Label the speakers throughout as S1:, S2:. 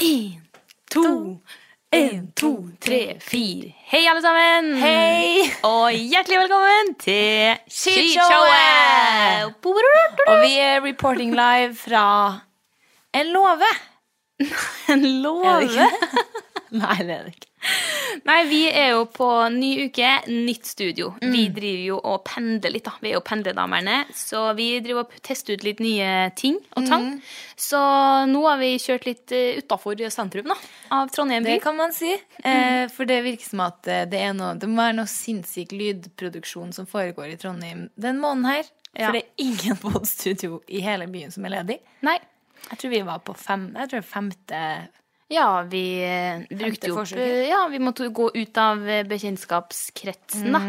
S1: Én, to, én, to, tre, fire. Hei, alle sammen!
S2: Hei!
S1: Og hjertelig velkommen til
S2: Skishowet! Og vi er reporting live fra en låve.
S1: En låve!
S2: Er det ikke
S1: Nei, det er det ikke. Nei, vi er jo på ny uke, nytt studio.
S2: Mm.
S1: Vi driver jo og pendler litt, da. Vi er jo pendledamerne. Så vi driver og tester ut litt nye ting og tang.
S2: Mm.
S1: Så nå har vi kjørt litt uh, utafor sentrum da, av Trondheim by.
S2: Det kan man si. Eh, for det virker som at eh, det, er noe, det må være noe sinnssyk lydproduksjon som foregår i Trondheim den måneden her.
S1: Ja.
S2: For det er ingen på et studio i hele byen som er ledig.
S1: Nei.
S2: Jeg tror vi var på fem, jeg tror femte
S1: Ja, vi eh, brukte jo opp
S2: forsøket.
S1: eh, Ja, vi måtte jo gå ut av eh, bekjentskapskretsen, da.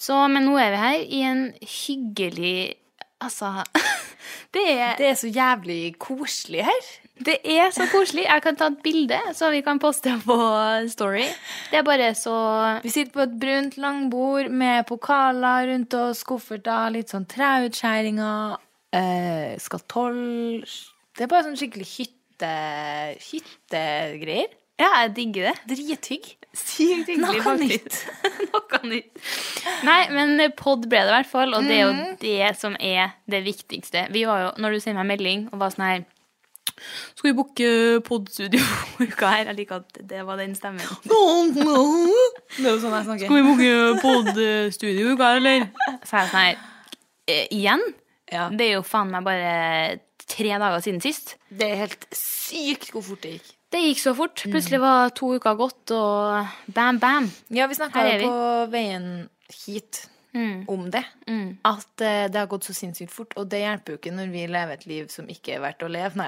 S1: Så, men nå er vi her i en hyggelig Altså det er,
S2: Det er så jævlig koselig her.
S1: det er så koselig. Jeg kan ta et bilde, så vi kan poste på Story. Det er bare så
S2: Vi sitter på et brunt langbord med pokaler rundt oss, kofferter, litt sånn treutskjæringer, eh, skatoll Det er bare sånn skikkelig hytte, hyttegreier.
S1: Ja, jeg digger det.
S2: Drithygg.
S1: Sykt
S2: hyggelig,
S1: Noe
S2: faktisk.
S1: nytt. Noe nytt. Mm. Nei, men pod ble det i hvert fall, og det er jo det som er det viktigste. Vi var jo, når du sender meg melding og var sånn her Skal vi booke podstudio for uka her? Jeg liker at det var den stemmen.
S2: Det er jo sånn jeg snakker.
S1: vi booke podstudio uka her, eller? Så er jeg sånn her «Eh, Igjen?
S2: Ja.
S1: Det er jo faen meg bare tre dager siden sist.
S2: Det er helt sykt hvor fort det gikk.
S1: Det gikk så fort. Plutselig var to uker gått, og bam, bam.
S2: Ja, vi snakka
S1: Her er Mm.
S2: jo på veien hit om det. At eh, det har gått så sinnssykt fort. Og det hjelper jo ikke når vi lever et liv som ikke er verdt å leve.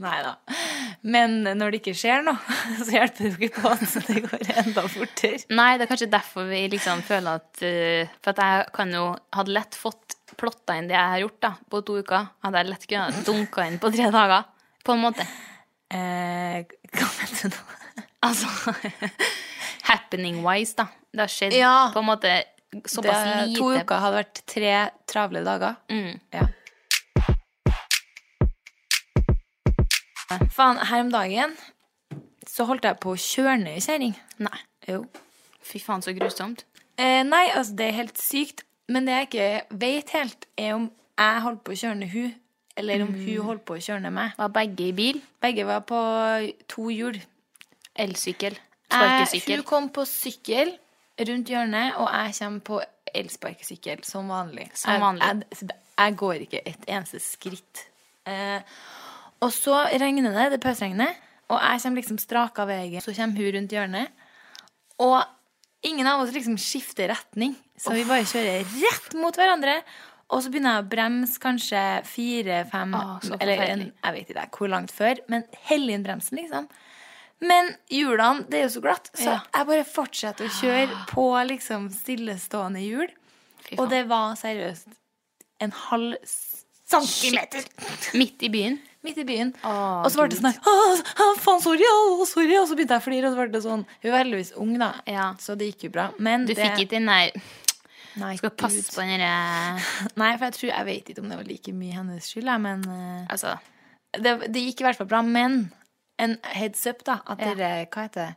S2: Nei da. Men når det ikke skjer noe, så hjelper det jo ikke på at det går enda fortere.
S1: Nei, det er kanskje derfor vi liksom føler at eh, For at jeg kan jo hadde lett fått plotta inn det jeg har gjort da, på to uker. Hadde jeg lett kunnet dunka inn på tre dager. På en måte.
S2: Eh, hva mener du nå?
S1: Altså happening-wise, da. Det har skjedd
S2: Ja.
S1: på en måte
S2: Det,
S1: såpass lite.
S2: to uker hadde vært tre travle dager.
S1: Mm.
S2: Ja. Faen, her om dagen så holdt jeg på å kjøre ned ei kjerring.
S1: Nei.
S2: Jo.
S1: Fy faen, så grusomt.
S2: Eh, nei, altså det er helt sykt. Men det jeg ikke vet helt, er om jeg holdt på å kjøre ned hun, eller om hun holdt på å kjøre ned meg.
S1: Var begge i bil.
S2: Begge var på to hjul.
S1: Elsykkel.
S2: Jeg,
S1: Sparkesykkel.
S2: Eh, hun kom på sykkel rundt hjørnet, og jeg kommer på elsparkesykkel som vanlig.
S1: Som vanlig.
S2: Jeg, jeg, jeg går ikke et eneste skritt. Eh, og så regner det, det pøsregner, og jeg kommer liksom straka veien. Så kommer hun rundt hjørnet, og ingen av oss liksom skifter retning. Så vi bare kjører rett mot hverandre. Og så begynner jeg å bremse kanskje fire-fem
S1: Å, så
S2: Eller en,
S1: forferdelig.
S2: jeg vet ikke hvor langt før, men hell inn bremsen, liksom. Men hjulene, det er jo så glatt, så
S1: Ja. Ah.
S2: jeg bare fortsetter å kjøre på liksom stillestående hjul.
S1: Fy faen.
S2: Og det var seriøst en halv centimeter
S1: Midt i byen.
S2: midt i byen.
S1: Å,
S2: og så ble det sånn her, «Å, å, faen, sorry, å, sorry. Og så begynte jeg å flire, og så ble det sånn Hun var heldigvis ung, da,
S1: Ja.
S2: så det gikk jo bra. Men
S1: Du
S2: det,
S1: fikk ikke den der
S2: nei,
S1: Skal passe
S2: Gud.
S1: på den derre
S2: Nei, for jeg tror Jeg vet ikke om det var like mye hennes skyld, jeg, men eh,
S1: Altså.
S2: det, det gikk i hvert fall bra. Men en heads up, da, at
S1: Ja.
S2: dere Hva heter det?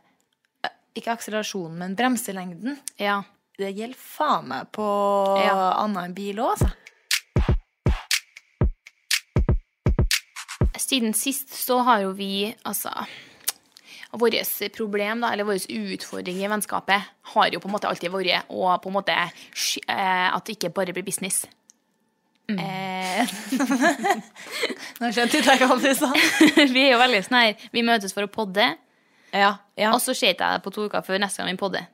S2: Eh, Ikke akselerasjonen, men bremselengden.
S1: Ja.
S2: Det gjelder faen meg på
S1: Ja.
S2: annen enn bil òg, altså.
S1: siden sist så har jo vi, altså Vårt problem, da, eller vår utfordring i vennskapet, har jo på en måte alltid vært å på en måte sky- eh, At det ikke bare blir business. Eh,
S2: Nå skjønte jeg ikke alt du sa.
S1: vi er jo veldig sånn her Vi møtes for å podde,
S2: Ja, ja.
S1: og så ser ikke jeg deg på to uker før neste gang vi podder.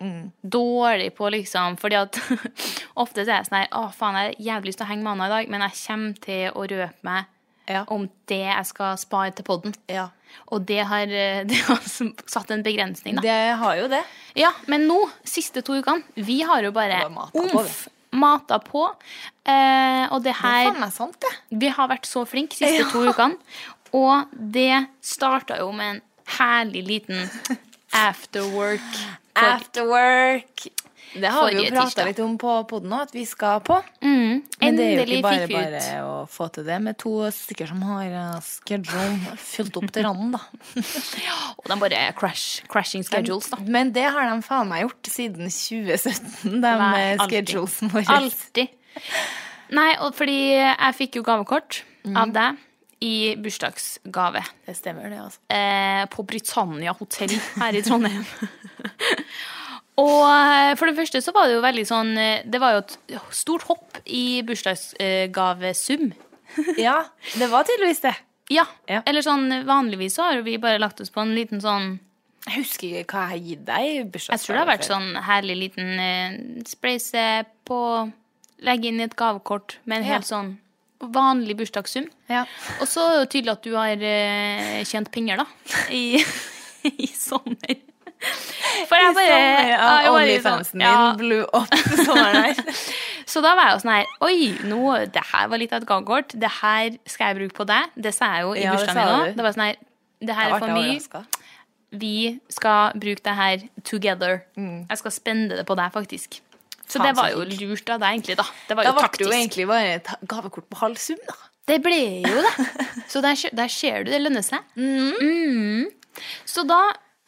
S1: Dårlig på liksom Fordi at ofte så er jeg sånn her Å, faen, jeg har jævlig lyst til å henge med Anna i dag, men jeg kommer til å røpe meg
S2: Ja.
S1: om det jeg skal spare til podden.
S2: ja.
S1: Og det har, eh, det har satt en begrensning, da.
S2: Det har jo det.
S1: Ja, men nå, siste to ukene, vi har jo bare
S2: Bare mata på,
S1: omf, mata på. Eh, og det
S2: Det er
S1: her
S2: faen meg sant, det.
S1: Vi har vært så flinke siste to ukene. Og det starta jo med en herlig liten afterwork.
S2: Afterwork. Det har vi
S1: forrige
S2: jo prata
S1: tirsdag.
S2: litt om på poden òg, at vi skal på.
S1: Mm.
S2: Men det er jo
S1: Endelig
S2: ikke bare
S1: fikk vi
S2: bare
S1: ut.
S2: å få til det med to stykker som har eh, schedule fylt opp til randen, da.
S1: Og de bare crash, crashing schedules, da.
S2: Men det har de faen meg gjort siden 2017, de
S1: Nei,
S2: eh,
S1: alltid.
S2: schedulesen våre.
S1: Alltid. Nei, og fordi jeg fikk jo gavekort
S2: Mhm.
S1: av deg i bursdagsgave
S2: Det stemmer, det, altså.
S1: eh, på Britannia hotell her i Trondheim. Og eh, for det første så var det jo veldig sånn eh, Det var jo et stort hopp i bursdagsgavesum.
S2: Ja, det var tydeligvis det.
S1: Ja.
S2: Ja.
S1: Eller sånn vanligvis så har jo vi bare lagt oss på en liten sånn
S2: Jeg husker ikke hva jeg har gitt deg i bursdagsgave.
S1: Jeg tror det har vært
S2: før.
S1: sånn herlig liten eh, spleise på Legge inn i et gavekort med en
S2: Ja.
S1: helt sånn vanlig bursdagssum.
S2: Ja.
S1: Og så er det jo tydelig at du har eh, tjent penger, da. I, i sommer. For jeg bare
S2: Sånn, ja,
S1: jeg bare
S2: Onlyfansen
S1: sånn, ja.
S2: min blew opp sommeren her.
S1: Så da var jeg jo sånn her Oi, nå, det her var litt av et gavekort. Det her skal jeg bruke på deg. Det sa jeg jo i
S2: Ja, det
S1: bursdagen
S2: sa
S1: min
S2: du.
S1: òg. Det var sånn her Det her er for mye. vi skal bruke det her together. Jeg skal spenne det på deg, faktisk. Så
S2: Mm. Faen,
S1: det var
S2: så
S1: jo lurt av deg, egentlig. da. Det var
S2: Da
S1: jo
S2: ble det
S1: taktisk.
S2: jo egentlig bare et gavekort på halv sum, da.
S1: Det ble jo det. Så der, skj- der ser du det lønner seg. Mm. Så da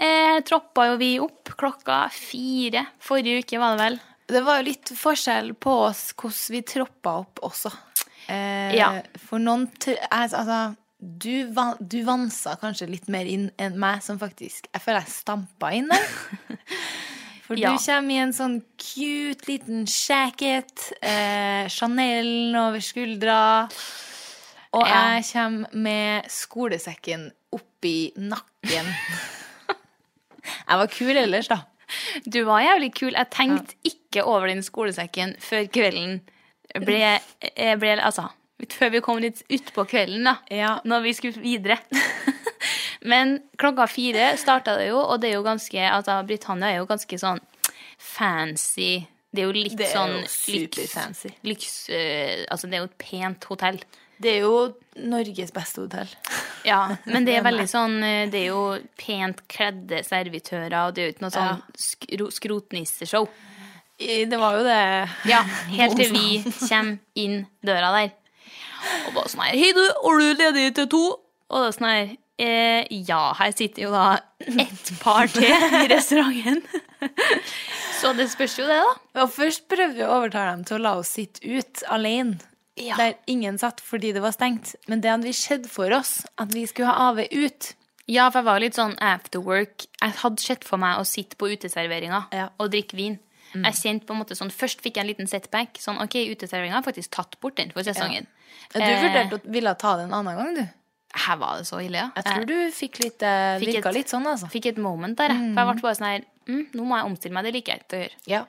S1: eh, troppa jo vi opp klokka fire forrige uke, var det vel?
S2: Det var jo litt forskjell på oss hvordan vi troppa opp også. Eh,
S1: Ja.
S2: For noen tr- altså, altså, du, van, du vansa kanskje litt mer inn enn meg, som faktisk Jeg føler jeg stampa inn der. For
S1: Ja.
S2: du kommer i en sånn cute liten jacket, eh, Chanelen over skuldra. Og
S1: Ja.
S2: jeg kommer med skolesekken oppi nakken. jeg var kul ellers, da.
S1: Du var jævlig kul. Jeg tenkte ikke over den skolesekken før kvelden ble, eh, ble Altså, før vi kom litt utpå kvelden, da.
S2: Ja.
S1: Når vi skulle videre. Men klokka fire starta det jo, og det er jo ganske Altså, Britannia er jo ganske sånn fancy. Det er jo litt
S2: Det er
S1: sånn
S2: jo superfancy.
S1: lyks, lyks eh, Altså, det er jo et pent hotell.
S2: Det er jo Norges beste hotell.
S1: Ja, men det er veldig sånn eh, Det er jo pent kledde servitører, og det er jo ikke noe
S2: Ja.
S1: sånn skro, skrotnisseshow.
S2: I- Det var jo det.
S1: Ja, Sånn. helt til vi kommer inn døra der. Og bare sånn her Hei, du, er du ledig til to? Og da sånn her eh, Ja, her sitter jo da ett par til i restauranten. Så det spørs jo det, da.
S2: Og først prøvde vi å overtale dem til å la oss sitte ut alene.
S1: Ja.
S2: Der ingen satt fordi det var stengt. Men det hadde vi sett for oss, at vi skulle ha AV ut.
S1: Ja, for jeg var litt sånn after work. Jeg hadde sett for meg å sitte på uteserveringa
S2: Ja.
S1: og drikke vin. Jeg kjente på en måte sånn, Først fikk jeg en liten setback. Sånn, ok, uteserveringa har faktisk tatt bort den for sesongen.
S2: Du
S1: Eh.
S2: vurderte å ville ta det en annen gang, du.
S1: Her var det så ille, ja.
S2: Jeg tror du fikk litt, eh,
S1: Fikk
S2: virka
S1: et-
S2: litt sånn, altså.
S1: Jeg fikk et moment der, jeg. For jeg ble bare sånn her mm, Nå må jeg omstille meg. Det liker jeg ikke å gjøre.
S2: Ja.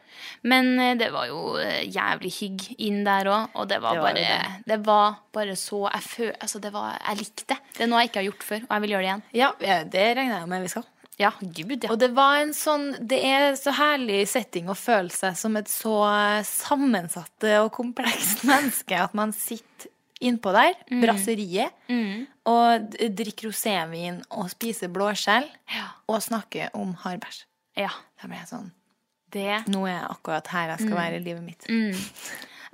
S1: Men eh, det var jo eh, jævlig hygg inn der òg, og det var,
S2: Det var jo
S1: bare det. var bare så Jeg fø, altså det var, jeg likte det. Det er noe jeg ikke har gjort før, og jeg vil gjøre det igjen.
S2: ja, ja, det regner jeg med vi skal.
S1: Ja, gud, ja.
S2: Og det var en sånn Det er så herlig setting å føle seg som et så sammensatt og komplekst menneske at man sitter innpå der, brasseriet, og d- drikker rosévin og spiser blåskjell
S1: Ja.
S2: og snakker om hardbæsj.
S1: ja.
S2: Da ble jeg sånn
S1: Det,
S2: Nå er jeg akkurat her jeg skal være i livet mitt.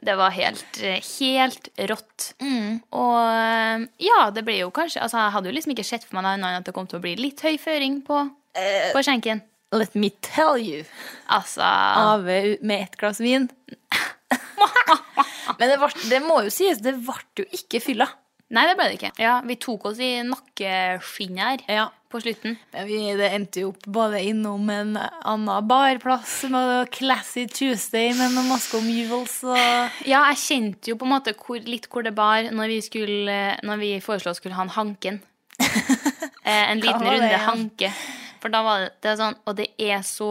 S1: det var helt, eh, helt rått.
S2: Mm.
S1: Og eh, ja, det ble jo kanskje Altså, jeg hadde jo liksom ikke sett for meg noe annet enn at det kom til å bli litt høy føring på,
S2: Eh.
S1: på skjenken.
S2: Let me tell you.
S1: Altså
S2: Ave u- med ett glass vin. Men det, vart- det må jo sies, det ble jo ikke fylla.
S1: Nei, det ble det ikke. Ja, Vi tok oss i nakkeskinnet her eh,
S2: Ja,
S1: på slutten.
S2: Men Vi, det endte jo opp både innom en annen barplass med Classy Tuesday med noen Moscow Mules og
S1: Ja, jeg kjente jo på en måte hvor, litt hvor det bar når vi, skulle, når vi foreslo å skulle ha en Hanken. Eh, en liten
S2: var det
S1: runde
S2: igjen?
S1: Hanke. For da var det, det er sånn Og det er så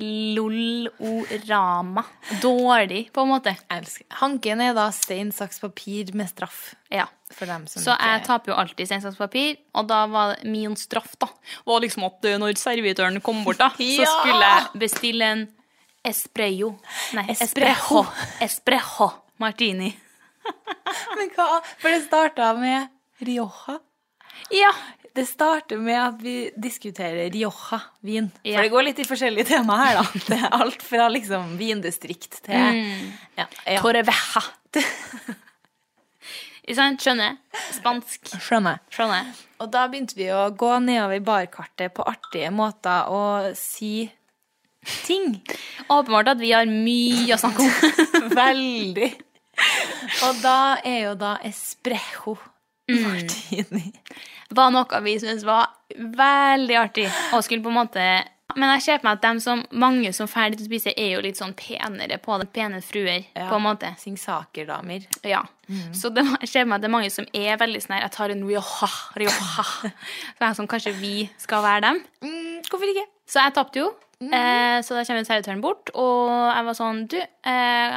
S1: lol-orama. Dårlig, på en måte.
S2: Elsker. Hanken er da stein, saks, papir med straff.
S1: Ja.
S2: For dem som
S1: Så jeg
S2: ikke
S1: taper jo alltid stein, saks, papir, og da var det min straff da var liksom at eh, når servitøren kom bort, da, så
S2: Ja!
S1: skulle jeg bestille en espresso. Nei,
S2: Espresso.
S1: espresso. Espresso martini.
S2: Men hva? For det starta med Rioja.
S1: Ja,
S2: Det starter med at vi diskuterer Rioja-vin.
S1: Ja.
S2: For det går litt i forskjellige temaer her, da. Det er alt fra liksom vindistrikt til
S1: Mm.
S2: ja, ja.
S1: Torreveja. Ikke sant? Skjønner. Spansk.
S2: Skjønner.
S1: Skjønner.
S2: Og da begynte vi å gå nedover barkartet på artige måter og si ting.
S1: Åpenbart at vi har mye å snakke om.
S2: Veldig. Og da er jo da espresso Mm. martini.
S1: var noe vi syntes var veldig artig. Og skulle på en måte Men jeg ser på meg at dem som, mange som ferdig til å spise, er jo litt sånn penere på det. Pene fruer, på en måte.
S2: Singsakerdamer.
S1: Ja. Så det, jeg ser på meg at det er mange som er veldig sånn her Jeg tar en Rioja, Rioja. Så jeg som kanskje vi skal være dem.
S2: Mm, hvorfor ikke?
S1: Så jeg tapte jo. Eh, så da kommer servitøren bort, og jeg var sånn Du, eh,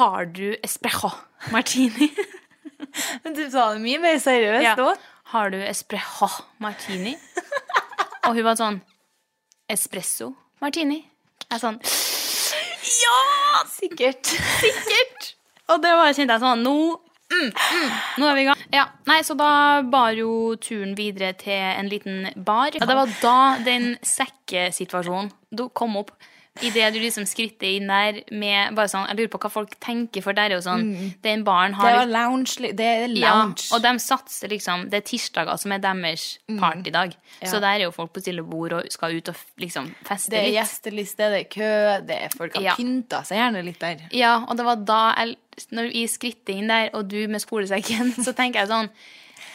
S1: har du espresso martini?
S2: Men du sa det mye mer seriøst
S1: Ja.
S2: òg.
S1: Har du espresso martini? Og hun var sånn Espresso martini? Jeg er sånn
S2: Ja! Sikkert.
S1: Sikkert! Og det var kjente jeg sånn Nå mm, mm, Nå er vi i gang. Ja, nei, Så da bar jo turen videre til en liten bar. Og det var da den sekkesituasjonen do- kom opp. Idet du liksom skritter inn der med bare sånn Jeg lurer på hva folk tenker, for der er jo sånn Den baren
S2: Mm. Det
S1: har
S2: var lounge. li- Det er lounge. Mm.
S1: Ja, og de satser liksom Det er tirsdager som er deres partydag. Så der er jo folk på stille bord og skal ut og f- liksom feste
S2: det er
S1: litt.
S2: gjesteliste, det er kø, det er folk har
S1: Ja.
S2: pynta seg gjerne litt der.
S1: Ja, og det var da jeg, når vi skrittet inn der, og du med skolesekken, så tenker jeg sånn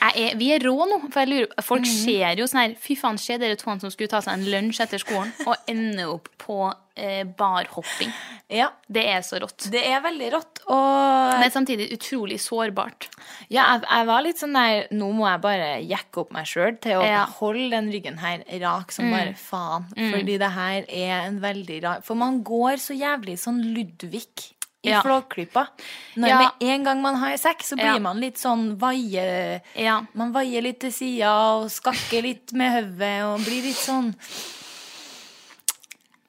S1: jeg er, Vi er rå nå, for jeg lurer,
S2: Mm.
S1: folk ser jo sånn her Fy faen, se dere to som skulle ta seg en lunsj etter skolen, og ender opp på eh, barhopping.
S2: Ja,
S1: Det er så rått.
S2: det er veldig rått. Og
S1: Men samtidig utrolig sårbart.
S2: ja, jeg, jeg var litt sånn der Nå må jeg bare jekke opp meg sjøl til å
S1: Ja. Mm.
S2: holde den ryggen her rak som bare faen. Fordi det her er en veldig rar For man går så jævlig sånn Ludvig. I
S1: Ja.
S2: Flåklypa. Når
S1: Ja.
S2: med en gang man har sekk, så blir
S1: Ja.
S2: man litt sånn vaie...
S1: Ja.
S2: Man vaier litt til sida og skakker litt med hodet og blir litt sånn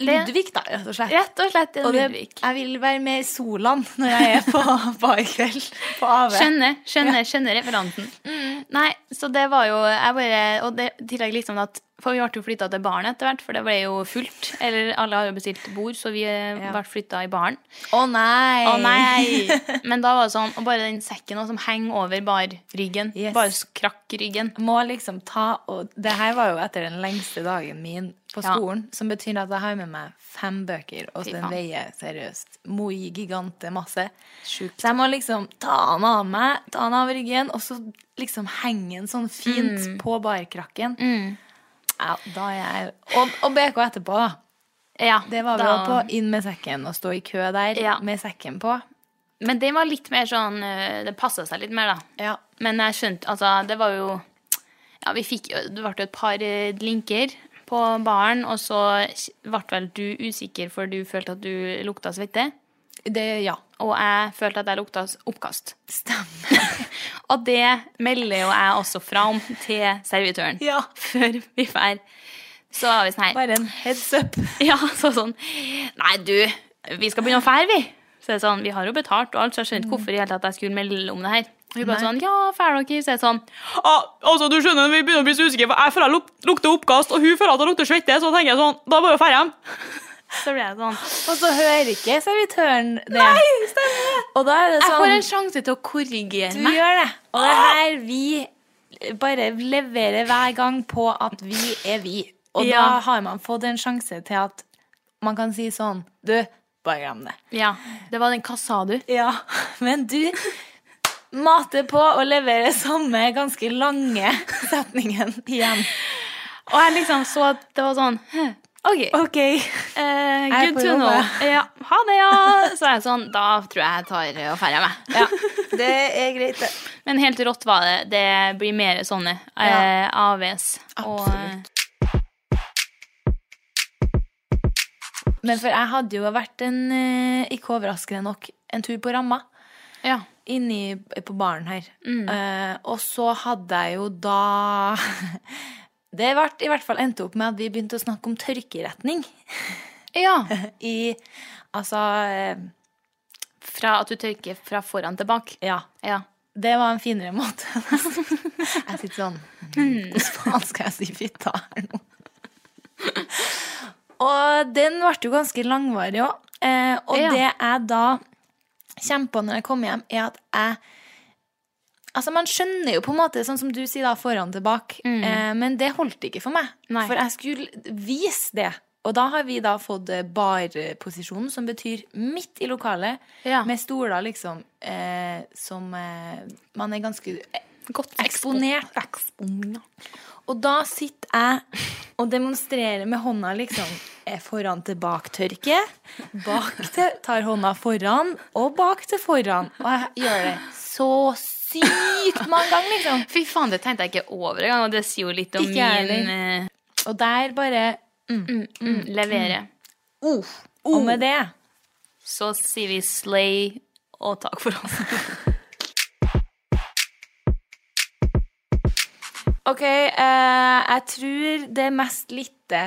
S1: Det-
S2: Ludvig, da, rett og slett.
S1: Rett og slett en
S2: Og det,
S1: Ludvig.
S2: jeg vil være med i Solan når jeg er på barkveld på AV. Mm.
S1: Skjønner, skjønner, skjønner referanten. Nei, så det var jo jeg bare, Og det i tillegg liksom at For vi ble jo flytta til baren etter hvert, for det ble jo fullt. Eller alle har jo bestilt bord, så vi eh,
S2: Ja.
S1: ble flytta i baren.
S2: Å nei!
S1: Å nei! Men da var det sånn, og bare den sekken også, som henger over barryggen.
S2: Yes.
S1: Bare skrakk ryggen.
S2: Må liksom ta og Det her var jo etter den lengste dagen min på
S1: Ja.
S2: skolen, som betyr at jeg har med meg fem bøker, og
S1: Fy
S2: den
S1: faen.
S2: veier seriøst moi gigante masse.
S1: Sjukt.
S2: Så jeg må liksom ta den av meg, ta den av ryggen, og så liksom henge den sånn fint
S1: Mm.
S2: på barkrakken. Ja, da er jeg Og, og BK etterpå, da.
S1: Ja,
S2: Det var vi
S1: da-
S2: også på. Inn med sekken og stå i kø der
S1: Ja.
S2: med sekken på.
S1: Men det var litt mer sånn eh, Det passa seg litt mer, da.
S2: Ja.
S1: Men jeg skjønte, altså, det var jo Ja, vi fikk jo- Det ble jo et par eh, linker på baren, og så ble vel du usikker, for du følte at du lukta svette.
S2: Det, ja.
S1: Og jeg følte at jeg lukta s- oppkast.
S2: Stemmer.
S1: Og det melder jo jeg også fra om til servitøren.
S2: Ja.
S1: Før vi drar. Så var vi sånn her
S2: Bare en heads up.
S1: Ja, så sånn Nei, du, vi skal begynne å fære, vi. Så er det sånn, Vi har jo betalt og alt, så jeg skjønner ikke hvorfor i hele tatt jeg skulle melde om det her. Og hun bare sånn, ja, fære dere, så er det sånn
S3: Ah, altså, du skjønner, Vi begynner å bli så usikre, for jeg føler jeg luk- lukter oppkast, og hun føler at hun lukter svette. Så tenker jeg sånn, da er det bare å dra hjem.
S1: Så ble jeg sånn
S2: Og så hører ikke servitøren det. Nei, stemmer. Og da er det
S1: Jeg får
S2: sånn
S1: en sjanse til å korrigere
S2: Du
S1: meg.
S2: gjør det. Og det er her vi bare leverer hver gang på at vi er vi. Og da
S1: Ja.
S2: har man fått en sjanse til at man kan si sånn Du, bare glem det.
S1: Ja, det var den Hva sa du?
S2: Ja, men du mater på å levere samme ganske lange setningen igjen.
S1: Og jeg liksom så at det var sånn «Hm, OK.
S2: Ok.
S1: eh,
S2: er
S1: good
S2: på
S1: to
S2: jobb,
S1: know.
S2: jeg.
S1: Ja, ha det, ja. Så er jeg sånn Da tror jeg jeg tar og ferder meg.
S2: Ja, det er greit, det.
S1: Men helt rått var det. Det blir mer sånne eh, AVs. Og,
S2: Absolutt. Men for jeg hadde jo vært en, eh, ikke overraskende nok, en tur på ramma.
S1: eh, ja.
S2: Inni på baren her. Eh, og så hadde jeg jo da Det ble i hvert fall endte opp med at vi begynte å snakke om tørkeretning
S1: ja.
S2: i Altså eh,
S1: Fra at du tørker fra foran til bak.
S2: Ja.
S1: Ja.
S2: Det var en finere måte. jeg sitter sånn «Hmm, Hvordan faen skal jeg si fitta her nå? Og den ble jo ganske langvarig òg. Eh, og
S1: Ja.
S2: det jeg da kommer på når jeg kommer hjem, er at jeg Altså, man skjønner jo på en måte, sånn som du sier, da, foran til bak, eh, men det holdt ikke for meg.
S1: Mm. Nei.
S2: For jeg skulle vise det. Og da har vi da fått eh, barposisjonen, som betyr midt i lokalet,
S1: Ja.
S2: med stoler liksom eh, som eh, Man er ganske
S1: Godt
S2: eksponert. da.
S1: eksponert.
S2: Og da sitter jeg og demonstrerer med hånda liksom eh, foran til bak-tørke. Bak til tar hånda foran, og bak til foran. Og jeg gjør det så sykt mange ganger, liksom.
S1: Fy faen, det tenkte jeg ikke over engang, og det sier jo litt om
S2: Ikke jeg
S1: min eh,
S2: Og der bare
S1: mm, levere.
S2: oh, Og med det
S1: Så sier vi slay og takk for oss.
S2: Ok, eh, jeg tror det mest lite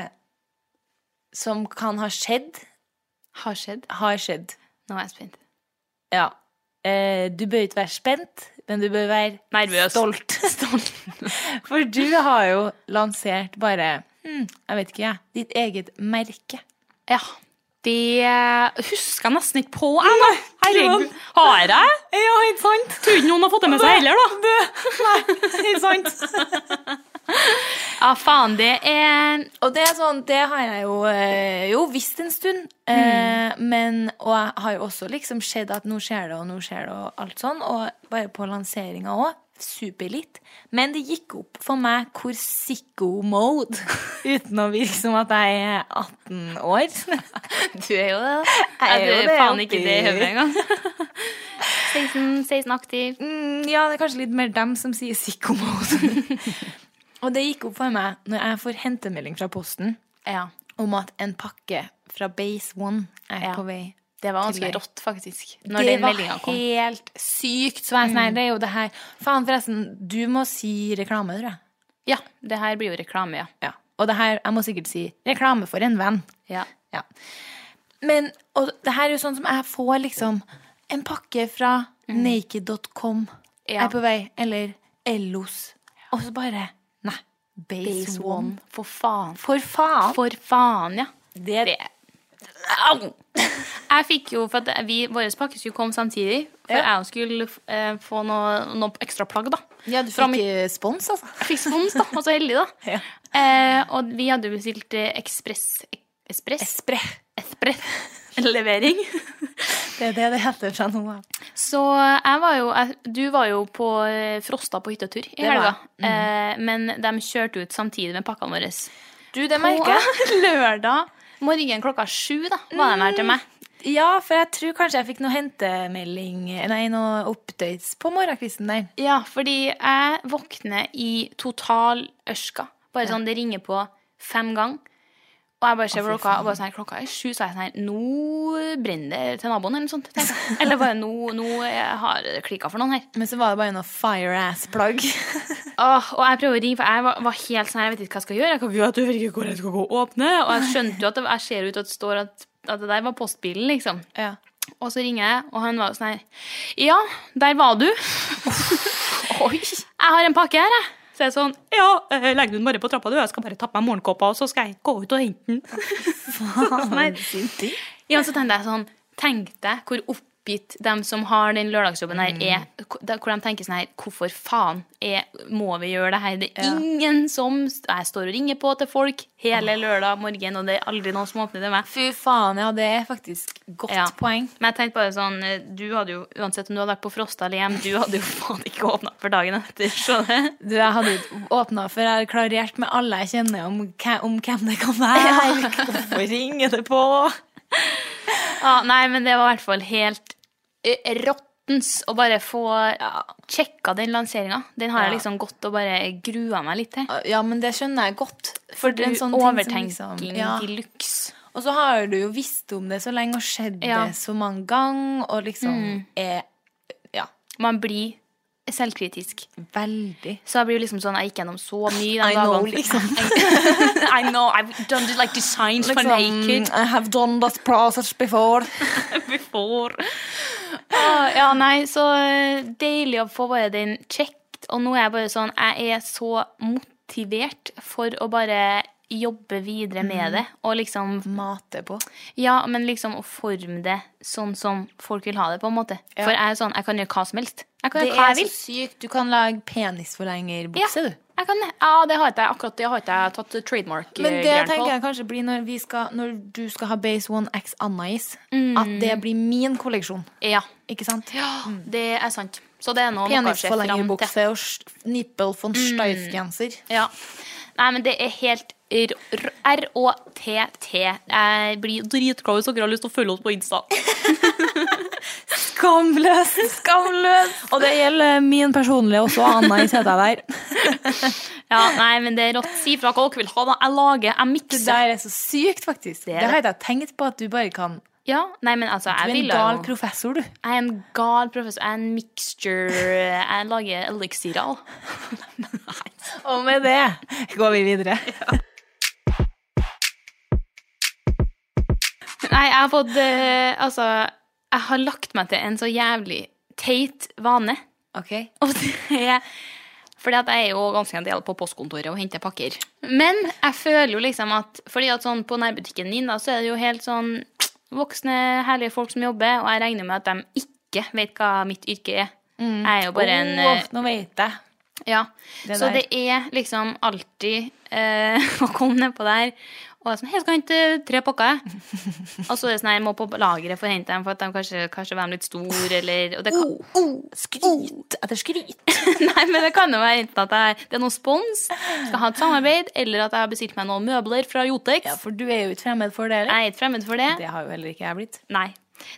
S2: som kan ha skjedd,
S1: Har skjedd.
S2: har skjedd.
S1: Nå er jeg spent.
S2: Ja. Eh, du bør ikke være spent, men du bør være
S1: Nervøs.
S2: stolt. For du har jo lansert bare hm, Jeg vet ikke, jeg. Ditt eget merke.
S1: Ja. Det eh, husker jeg nesten ikke på. Jeg, nå. Herregud.
S3: Johan.
S1: Har jeg?
S3: Ja, ikke sant? Tror ikke noen har fått det med seg heller, da. Ikke sant?
S1: Ja, faen, det er
S2: Og det er sånn, det har jeg jo, eh, jo visst en stund. Eh, men, og jeg har jo også liksom sett at nå skjer det, og nå skjer det, og alt sånn. Og bare på lanseringa òg. Superlitt. Men det gikk opp for meg hvor sicko mode, uten å virke som at jeg er 18 år.
S1: Du er jo det. da.
S2: Jeg er
S1: Ja, du
S2: jo
S1: er
S2: det,
S1: faen ikke
S2: oppi-
S1: det i hodet engang. 16, 16 aktiv.
S2: Mm, ja, det er kanskje litt mer dem som sier sicko mode. og det gikk opp for meg når jeg får hentemelding fra posten
S1: Ja.
S2: om at en pakke fra Base One er
S1: Ja.
S2: på vei.
S1: Det var
S2: ganske
S1: ganske rått, faktisk.
S2: det
S1: Når den
S2: var
S1: meldinga kom.
S2: helt sykt. Så var jeg sånn, nei, det er jo det her Faen, forresten, du må si reklame, tror jeg.
S1: Ja, det her blir jo reklame, ja.
S2: Ja. Og det her, jeg må sikkert si reklame for en venn.
S1: ja.
S2: Ja. Men og det her er jo sånn som jeg får liksom en pakke fra naked.com
S1: Ja.
S2: er på vei, eller Ellos. Og så bare Nei. Base,
S1: Base
S2: One.
S1: One. For faen.
S2: For faen!
S1: For faen, ja.
S2: det,
S1: det- Au! Jeg fikk jo, for at vi, Vår pakke skulle komme samtidig, for
S2: Ja.
S1: jeg skulle eh, få noe, noe ekstra plagg. da.
S2: ja, du
S1: Fra
S2: fikk eh, spons, altså.
S1: Jeg fikk spons, da. Og så heldig, da.
S2: Ja.
S1: Eh, og vi hadde jo bestilt eh, ekspress... ek- Espress?
S2: Spre.
S1: Espress-levering.
S2: Det er det det heter fra nå av.
S1: Så jeg var jo jeg, Du var jo på eh, Frosta på hyttetur i
S2: Det var
S1: helga. Eh, men de kjørte ut samtidig med pakkene våre.
S2: Du, det merker jeg.
S1: lørdag morgen klokka sju da, var de her til meg.
S2: Ja, for jeg tror kanskje jeg fikk noe hentemelding Nei, noe updates på morgenkvisten der.
S1: Ja, fordi jeg våkner i total ørska. Bare sånn, det ringer på fem ganger. Og jeg bare ser på klokka, og bare sånn, her, klokka er sju, så er jeg sånn her, nå brenner det til naboen, eller noe sånt. tenkte jeg. Eller bare, nå, nå eh, har det klikket for noen her.
S2: Men så var det bare noe fire-ass-plagg.
S1: Åh, og jeg prøver å ringe, for jeg var, var helt sånn her, jeg vet ikke hva jeg skal gjøre. Jeg kan,
S3: Vi vet jo ikke hvor jeg skal gå og åpne.
S1: og jeg skjønte jo at det, jeg ser ut at det står at, at det der var postbilen, liksom.
S2: Ja.
S1: Og så ringer jeg, og han var jo sånn her, ja, der var du.
S2: Oi!
S1: Jeg har en pakke her, jeg.
S3: Så jeg er sånn, ja, eh, legg den bare på trappa du, jeg skal bare tappe meg morgenkåpa, og så skal jeg gå ut og hente den.
S1: sånn
S2: Faen, sin tid.
S1: Ja, så tenkte jeg sånn Tenk deg hvor oppgitt dem som har den lørdagsjobben
S2: Mm.
S1: her, er. Hvor de tenker sånn her Hvorfor faen er, må vi gjøre det her? Det er
S2: Ja.
S1: ingen som Jeg står og ringer på til folk hele lørdag morgen, og det er aldri noen som åpner til meg.
S2: Fy faen, ja, det er faktisk godt
S1: Ja.
S2: poeng.
S1: Men jeg tenkte bare sånn Du hadde jo, uansett om du hadde vært på Frosta eller hjem, du hadde jo faen ikke åpna for dagen etter. Skjønner du?
S2: Du, jeg hadde åpna for jeg har klarert med alle jeg kjenner om, hva- om hvem det kan være. Hvorfor ringer det på?
S1: Ja, nei, men det var i hvert fall helt eh, rottens å bare få sjekka den lanseringa. Den har jeg
S2: Ja.
S1: liksom gått og bare grua meg litt til.
S2: Ja, men det skjønner jeg godt. For det er en sånn ting som
S1: Overtenking
S2: liksom- ja.
S1: til luks.
S2: Og så har du jo visst om det så lenge og skjedd
S1: Ja. Mm.
S2: det så mange ganger, og liksom er Ja,
S1: Man blir selvkritisk.
S2: veldig
S1: Så jeg blir jo liksom sånn, jeg gikk gjennom så mye den
S2: I know,
S1: dagen.
S2: liksom.
S1: I know, I've done it like
S2: Liksom.
S1: designs for naked.
S2: I have done that process before.
S3: Before.
S1: Å, Ah, Ja, nei, så eh, deilig å få bare den checked. Og nå er jeg bare sånn Jeg er så motivert for å bare jobbe videre
S2: Mm.
S1: med det. Og liksom
S2: Mate på.
S1: Ja, men liksom å forme det sånn som folk vil ha det, på en måte. For jeg er sånn Jeg kan gjøre hva som helst. Jeg kan
S2: Det
S1: gjøre hva
S2: er
S1: jeg
S2: så
S1: vil.
S2: sykt. Du kan lage penisforlengerbukse,
S1: Ja.
S2: du.
S1: Jeg kan, ja, det har ikke jeg akkurat det har ikke jeg tatt
S2: Men det
S1: trademark-greier på.
S2: tenker jeg kanskje blir når, vi skal, når du skal ha Base One X Anais. At det blir min kolleksjon.
S1: Ja,
S2: Ikke sant? Mm.
S1: det er sant. Så det er noe man kanskje er fram til.
S2: Penisforlengerbukse og sh- nippel von Steif-genser.
S1: Ja. Nei, men det er helt r- r- R-Å-T-T. Jeg blir dritglad hvis dere har lyst til å følge oss på Insta.
S2: Skamløs! Skamløs! og det gjelder eh, min personlige også. Anais heter jeg der.
S1: Ja, nei, men det er rått. Si fra hva dere vil ha, da. Jeg lager, jeg
S2: Det
S1: mikser.
S2: der er så sykt, faktisk. Det,
S1: er
S2: har jeg ikke tenkt på at du bare kan.
S1: Ja, nei, men altså,
S2: Du er
S1: jeg
S2: en
S1: vil
S2: gal
S1: jo
S2: professor, du.
S1: Jeg er en gal professor. Jeg er en mixture Jeg lager eliksirer.
S2: Og med det går vi videre.
S1: Nei, jeg har fått eh, Altså, jeg har lagt meg til en så jævlig teit vane.
S2: Ok.
S1: Og det er fordi at jeg er jo ganske en del på postkontoret og henter pakker. Men jeg føler jo liksom at Fordi at sånn på nærbutikken min, da, så er det jo helt sånn voksne, herlige folk som jobber, og jeg regner med at de ikke vet hva mitt yrke er. Jeg er jo bare en eh,
S2: Åh, nå vet jeg.
S1: Ja.
S2: Det
S1: så
S2: der.
S1: det er liksom alltid eh, å komme nedpå der og jeg er sånn, hei, jeg skal hente tre pakker. jeg». og så er det sånn, «Nei, jeg må på lageret for å hente dem, for at de kanskje, kanskje var de litt store, eller og det
S2: Oh,
S1: kan,
S2: Skryt etter skryt.
S1: Nei, men det kan jo være enten at jeg, det er noe spons, skal ha et samarbeid, eller at jeg har bestilt meg noen møbler fra Jotex.
S2: Ja, for du er jo ikke fremmed for dere.
S1: Jeg er ikke fremmed for det.
S2: Det har jo heller ikke jeg blitt.
S1: Nei.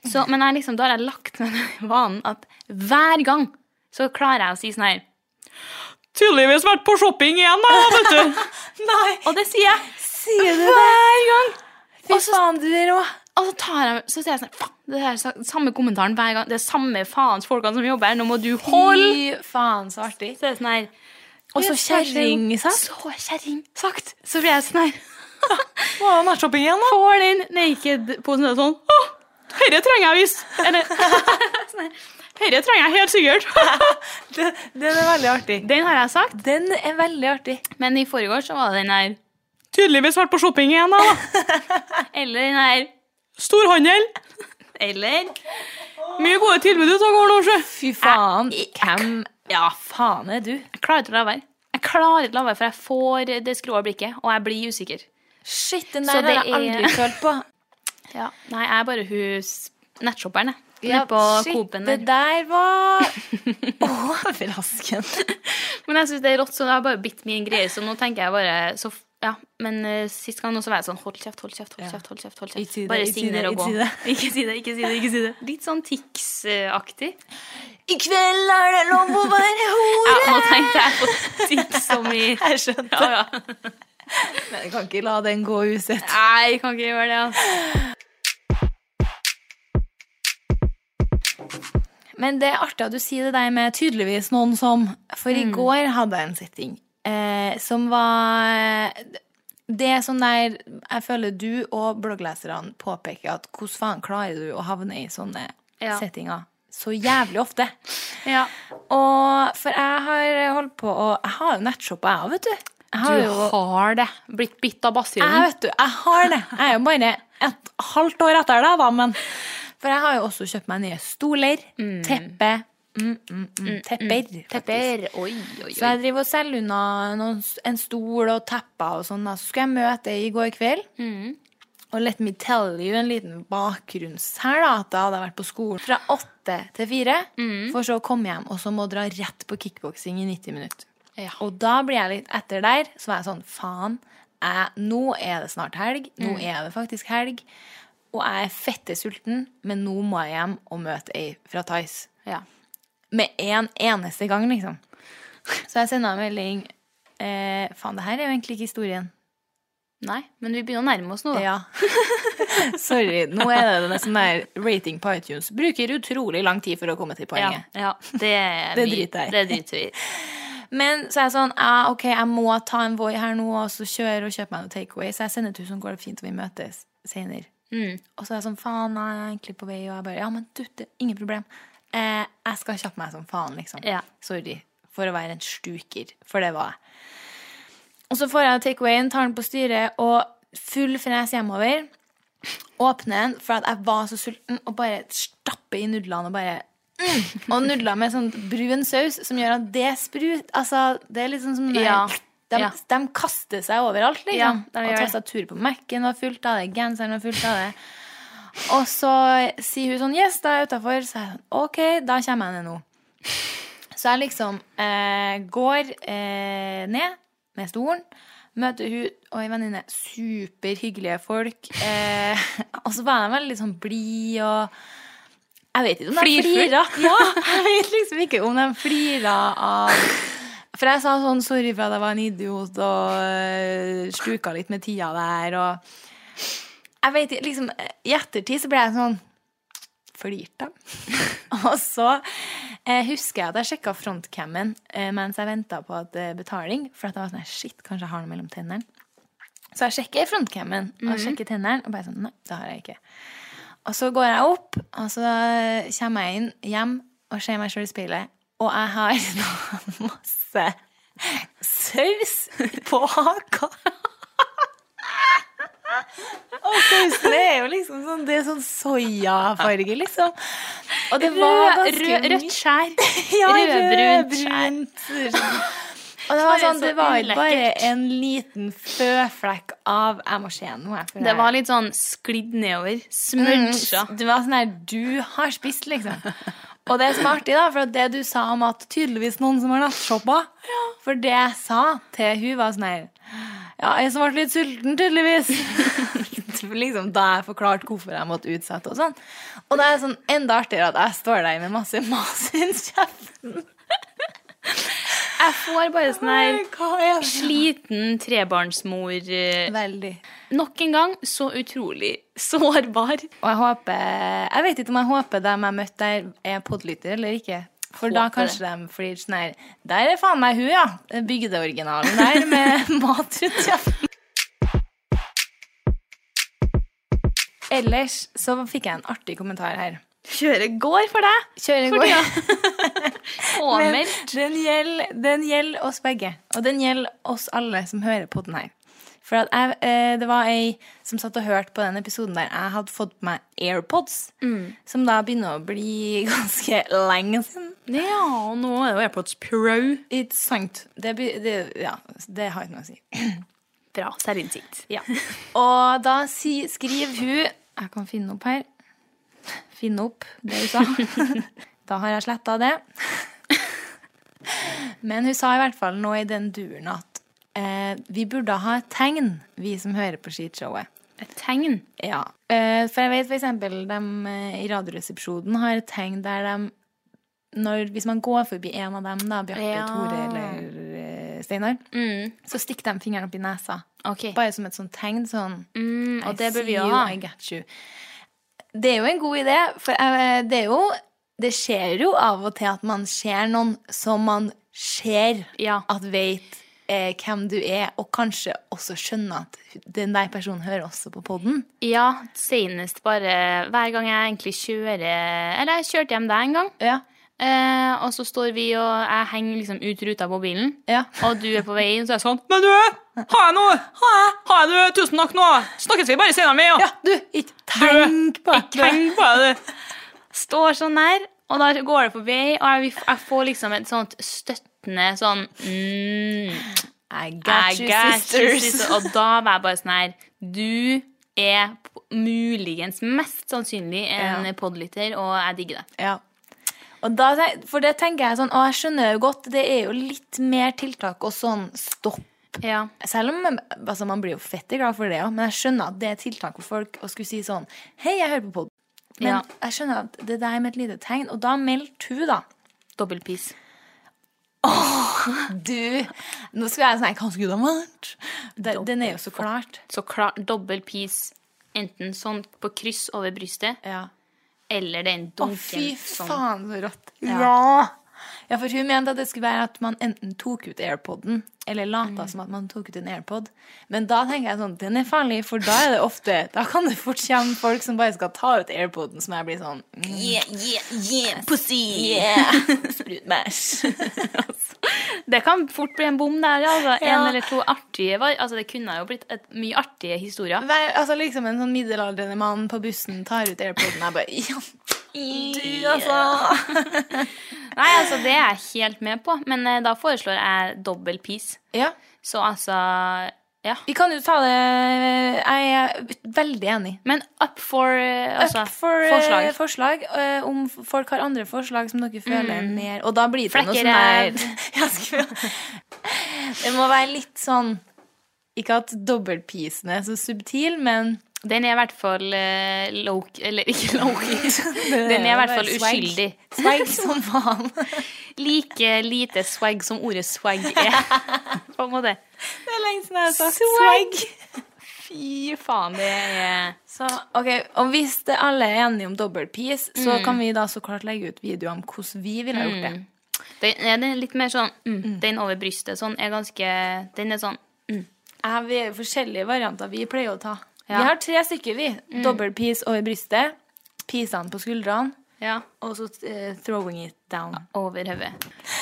S1: Så, men jeg liksom, da har jeg lagt meg den vanen at hver gang så klarer jeg å si sånn her.
S3: Tydeligvis vært på shopping igjen, da, vet du.
S2: Nei,
S1: Og det sier jeg.
S2: sier du
S1: Hver gang!
S2: Fy faen, du er rå.
S1: Og så, tar jeg, så sier jeg sånn Faen, det er sa- samme kommentaren hver gang. Det er samme faens folkene som jobber her. Nå må du holde
S2: Fy faen, så artig.
S1: Så er det sånn her
S2: Og så kjerring, sant?
S1: Så kjerring sagt. Så blir jeg sånn her
S2: Må ha nattshopping igjen, da.
S1: Får den naked-posen og sånn.
S3: Å, Herre trenger jeg visst. Eller Herre trenger jeg helt sikkert.
S2: Den, er veldig artig.
S1: Den har jeg sagt.
S2: Den er veldig artig.
S1: Men i forgårs så var det den her.
S3: Tydeligvis vært på shopping igjen, da.
S1: Eller den her.
S3: Storhandel.
S1: Eller
S3: Mye gode tilbud ute og går nå, sjø.
S2: Fy faen. Hvem ja, faen er du?
S1: Jeg klarer ikke å la være. Jeg klarer ikke å la være, for jeg får det skrå blikket, og jeg blir usikker.
S2: Shit, den
S1: Så
S2: der har
S1: det
S2: jeg aldri følt på.
S1: Ja. Nei, jeg er bare hun s- nettshopperen, jeg. Nede
S2: Ja,
S1: på
S2: shit,
S1: Coop-en
S2: det
S1: der.
S2: der var overraskende.
S1: Men jeg syns det er rått, så det har bare bitt min greie. Så nå tenker jeg bare så, f- Ja, men eh, sist gang nå så var jeg sånn hold kjeft, hold kjeft, hold kjeft. hold kjeft, hold
S2: Ikke si
S1: kjeft.
S2: det,
S1: Bare
S2: ikke si
S1: signer
S2: det,
S1: og gå.
S2: ikke si det.
S1: Ikke si det, ikke si det. ikke si det. Litt sånn Tix-aktig.
S2: I kveld er det lov å være hore.
S1: Ja, nå tenkte jeg på Tix som i
S2: Jeg skjønte.
S1: Ja, ja.
S2: Men jeg kan ikke la den gå usett.
S1: Nei, jeg kan ikke gjøre det, altså.
S2: Men det er artig at du sier det der med tydeligvis noen som For i går hadde jeg en setting eh, som var Det er sånn der jeg føler du og bloggleserne påpeker at hvordan faen klarer du å havne i sånne
S1: Ja.
S2: settinger så jævlig ofte?
S1: Ja.
S2: Og for jeg har holdt på å Jeg har jo nettshoppa, jeg òg, vet du. Jeg har
S1: Du
S2: jo
S1: har det. Blitt bitt av
S2: Jeg
S1: bastionen.
S2: vet du, jeg har det. Jeg er jo bare et halvt år etter deg, da, men For jeg har jo også kjøpt meg nye stoler, teppe mm, mm, mm, Tepper. faktisk.
S1: Tepper. Oi, oi,
S2: Så
S1: oi.
S2: jeg driver og selger unna noen, en stol og tepper og sånn. da. Så skulle jeg møte ei i går kveld.
S1: Mm.
S2: Og let me tell you en liten bakgrunns her, da. At jeg hadde vært på skolen fra åtte til fire.
S1: Mm.
S2: For så å komme hjem, og så må dra rett på kickboksing i 90 minutter.
S1: Ja.
S2: Og da blir jeg litt etter der. Så var jeg sånn, faen. Jeg, nå er det snart helg.
S1: Mm.
S2: Nå er det faktisk helg. Og jeg er fette sulten, men nå må jeg hjem og møte ei fra Tice.
S1: Ja.
S2: Med en eneste gang, liksom. Så jeg sender en melding eh, Faen, det her er jo egentlig ikke historien.
S1: Nei, men vi begynner å nærme oss nå, da.
S2: Ja. Sorry. Nå er det en sånn der rating på iTunes. Bruker utrolig lang tid for å komme til
S1: Ja,
S2: poenget.
S1: ja. Det, er
S2: Det
S1: vi-
S2: driter jeg i.
S1: Det driter vi i.
S2: Men så er jeg sånn ja, OK, jeg må ta en Voi her nå, og så kjøre og kjøpe meg noe takeaway. Så jeg sender et hus som går det fint, og vi møtes senere. Og så er jeg sånn, faen, nei, jeg er egentlig på vei, og jeg bare, ja, men dutte, ingen problem. Eh, jeg skal kjappe meg som faen, liksom.
S1: Ja.
S2: Sorry for å være en stuker, for det var jeg. Og så får jeg takeawayen, tar den på styret, og full fres hjemover. Åpner den, for at jeg var så sulten, og bare stapper i nudlene og bare mm, Og nudler med sånn brun saus som gjør at det sprut Altså, det er liksom som
S1: Ja.
S2: De,
S1: Ja.
S2: de kaster seg overalt, liksom.
S1: Ja, de gjør
S2: og
S1: det.
S2: tastaturet på Mac-en var fullt av det, genseren var fullt av det. Og så sier hun sånn Yes, da er jeg utafor. Så er jeg sånn OK, da kommer jeg ned nå. Så jeg liksom eh, går eh, ned med stolen, møter hun og ei venninne. Superhyggelige folk. Eh, og så var de veldig sånn blid og Jeg vet ikke om de
S1: Flirfull.
S2: flira. Ja, jeg vet liksom ikke om de flira av For jeg sa sånn sorry for at jeg var en idiot og eh, sluka litt med tida der og jeg vet, ikke, liksom, I ettertid så ble jeg sånn Flirte de? og så eh, husker jeg at jeg sjekka frontcammen eh, mens jeg venta på at, eh, betaling. For at jeg var sånn Shit, kanskje jeg har noe mellom tennene. Så jeg sjekker frontcammen
S1: Mhm.
S2: og sjekker tennene. Og bare sånn Nei, det har jeg ikke. Og så går jeg opp, og så kommer jeg inn hjem og ser meg sjøl i speilet. Og jeg har da masse saus på haka. Og sausen er jo liksom sånn Det er sånn soyafarge, liksom. Og det var
S1: Rød,
S2: ganske
S1: rød,
S2: mye-
S1: rødt skjær.
S2: ja,
S1: Rødbrunt
S2: rødbrunt. Og det var
S1: Så
S2: sånn, det var
S1: ulekkert.
S2: ikke bare en liten føflekk av Jeg må se noe. jeg, for
S1: Det
S2: jeg-
S1: var litt sånn sklidd nedover. Smudja.
S2: Mm, Det var sånn her, du har spist, liksom. Og det som er artig, da, for at det du sa om at tydeligvis noen som har nattshoppa For det jeg sa til hun, var sånn her Ja, jeg som ble litt sulten, tydeligvis. liksom, da jeg forklarte hvorfor jeg måtte utsette og sånn. Og det er sånn enda artigere at jeg står der med masse mas i kjeften.
S1: Jeg får bare sånn her
S2: Hva er det?
S1: sliten trebarnsmor. eh,
S2: Veldig.
S1: Nok en gang så utrolig sårbar.
S2: Og jeg håper Jeg vet ikke om jeg håper dem jeg møtte der, er podlytter eller ikke. For da
S1: Håper
S2: kanskje de flirer sånn her Der er faen meg hun, ja! Bygdeoriginalen der med mat rundt kjeften. Ellers så fikk jeg en artig kommentar her.
S1: Kjøret går for deg.
S2: Kjøre går. Men
S1: Kommer.
S2: den gjelder, den gjelder oss begge. Og den gjelder oss alle som hører på den her. For at jeg, eh, det var ei som satt og hørte på den episoden der jeg hadde fått på meg AirPods, som da begynner å bli ganske lenge siden.
S1: Ja, og nå er det jo AirPods Pro.
S2: Ikke sant? Det, blir- det, ja, det har ikke noe å si.
S1: Bra selvinnsikt. Ja.
S2: Og da si, skriver hun Jeg kan finne opp her. Finne opp det hun sa. da har jeg sletta det. Men hun sa i hvert fall nå i den duren at eh, vi burde ha et tegn, vi som hører på skishowet.
S1: Et tegn.
S2: Ja. Eh, for jeg vet for eksempel de eh, i Radioresepsjonen har et tegn der de når, Hvis man går forbi en av dem, da, Bjarte,
S1: Ja.
S2: Tore eller eh, Steinar, så stikker de fingeren opp i nesa.
S1: Ok.
S2: Bare som et sånt tegn. sånn
S1: Mm, og det bør vi
S2: jo
S1: jo ha.
S2: I get you. Det er jo en god idé, for eh, det er jo Det skjer jo av og til at man ser noen som man ser
S1: Ja.
S2: at vet eh, hvem du er, og kanskje også skjønner at den der personen hører også på poden.
S1: Ja, senest bare hver gang jeg egentlig kjører Eller jeg kjørte hjem deg en gang.
S2: Ja.
S1: Eh, og så står vi og jeg henger liksom ut ruta på bilen,
S2: Ja.
S1: og du er på vei inn, så er jeg sånn
S3: Sånn. Men du, har jeg noe? Har jeg? du, tusen takk nå. Snakkes vi bare senere med, ja.
S2: ja, du, ikke tenk på
S3: Ikke heng på deg, du.
S1: Står sånn der, og da går det forbi, og jeg, jeg får liksom et sånt støttende sånn mm,
S2: I
S1: I
S2: got you,
S1: got you,
S2: sisters.
S1: sister. Og da var jeg bare sånn her Du er p- muligens mest sannsynlig en
S2: Ja.
S1: podlytter, og jeg digger det.
S2: Ja. Og da, tenk- for det tenker jeg sånn, og jeg skjønner jo godt, det er jo litt mer tiltak og sånn stopp
S1: Ja.
S2: Selv om altså, man blir jo fette glad for det òg, men jeg skjønner at det er et tiltak for folk å skulle si sånn Hei, jeg hører på pod. Men
S1: Ja.
S2: jeg skjønner at det der med et lite tegn. Og da meldte hun, da.
S1: Dobbel pis.
S2: Du, nå skulle jeg sånn Hva skulle det ha vært? Det- Den er jo så klart.
S1: Så klart dobbel pis. Enten sånn på kryss over brystet,
S2: Ja.
S1: eller den
S2: Å,
S1: dunken
S2: fy
S1: sånn.
S2: faen, så rått. Ja. Ja, for hun mente at det skulle være at man enten tok ut airpoden, eller lata som at man tok ut en airpod. Men da tenker jeg sånn, den er farlig, for da er det ofte Da kan det fort komme folk som bare skal ta ut airpoden, som jeg blir sånn mm,
S1: Yeah, yeah, yeah, pussy!
S2: Sprutmæsj.
S1: Altså. Det kan fort bli en bom der, ja, altså. En
S2: Ja.
S1: eller to artige var- Altså, det kunne jo blitt et, mye artige historier.
S2: Vær- Altså liksom en sånn middelaldrende mann på bussen tar ut airpoden, jeg bare ja, du, altså.
S1: Nei, altså, det er jeg helt med på, men eh, da foreslår jeg dobbel piece.
S2: Ja.
S1: Så altså Ja.
S2: Vi kan jo ta det Jeg er veldig enig.
S1: Men up for eh, altså,
S2: Up for eh,
S1: forslag.
S2: forslag eh, om f- folk har andre forslag som dere føler er mer Og da blir det noe sånn
S1: Flekkerev.
S2: der Jeg skulle- Det må være litt sånn Ikke at dobbeltpisen er så subtil, men
S1: Den er i hvert fall eh, low- Eller ikke low-key. Den er i hvert fall
S2: Swag.
S1: uskyldig.
S2: Swag som faen.
S1: Like lite swag som ordet swag er. På en måte.
S2: Det er lenge siden jeg har sagt
S1: Swag.
S2: swag.
S1: Fy faen, det er
S2: Så, ok, og Hvis det alle er enige om dobbeltpis, så kan vi da så klart legge ut videoer om hvordan vi ville ha gjort det.
S1: Den er den litt mer sånn mm, Den over brystet sånn er ganske Den er sånn mm.
S2: Ja, vi er jo forskjellige varianter vi pleier å ta.
S1: Ja.
S2: Vi har tre stykker, vi. Dobbeltpis over brystet, pisene på skuldrene,
S1: Ja.
S2: og så eh, throwing it down.
S1: Over hodet.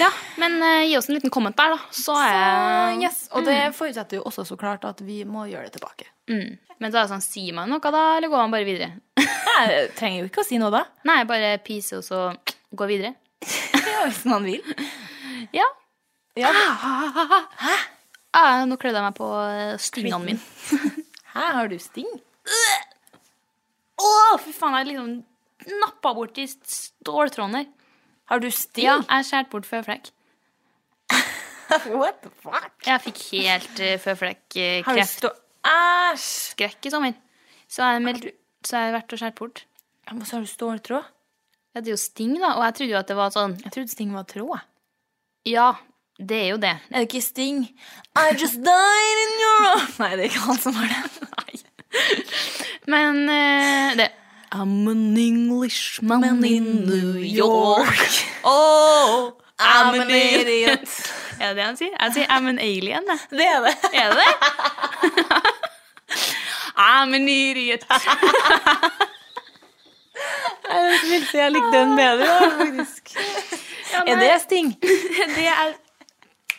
S1: Ja, men eh, gi oss en liten comment der, da. Så
S2: Så,
S1: er
S2: yes. Og det forutsetter jo også så klart at vi må gjøre det tilbake.
S1: mm. Men så er det sånn, sier man noe da, eller går man bare videre?
S2: Jeg trenger jo ikke å si noe da.
S1: Nei, bare pise og så gå videre.
S2: Ja, Hvis man vil.
S1: Ja.
S2: Ja.
S1: Ah, nå klødde jeg meg på eh, stingene mine.
S2: Her har du sting.
S1: Å, fy faen, jeg liksom nappa borti ståltråden her.
S2: Har du sting?
S1: Ja, jeg skjærte bort føflekk.
S2: What the fuck?
S1: Jeg fikk helt uh,
S2: Har du
S1: føflekkkreft.
S2: stå... Æsj!
S1: skrekk i sommer. Så har jeg, meldt, så har jeg vært og skåret bort.
S2: Ja, men Så har du ståltråd.
S1: Jeg hadde jo sting, da, og jeg trodde jo at det var sånn
S2: Jeg trodde sting var tråd.
S1: Ja, det er jo det.
S2: Er det ikke Sting? I just died in your arms Nei, det er ikke han som har det.
S1: Men eh, det I'm an Englishman in New York.
S2: Oh, I'm
S1: an
S2: idiot.
S1: Er det det han sier? Jeg sier I'm an alien, jeg.
S2: Det er det.
S1: Er det det? I'm an idiot.
S2: Jeg vil si jeg likte den bedre, da, faktisk. Ah. Er det Sting?
S1: Det er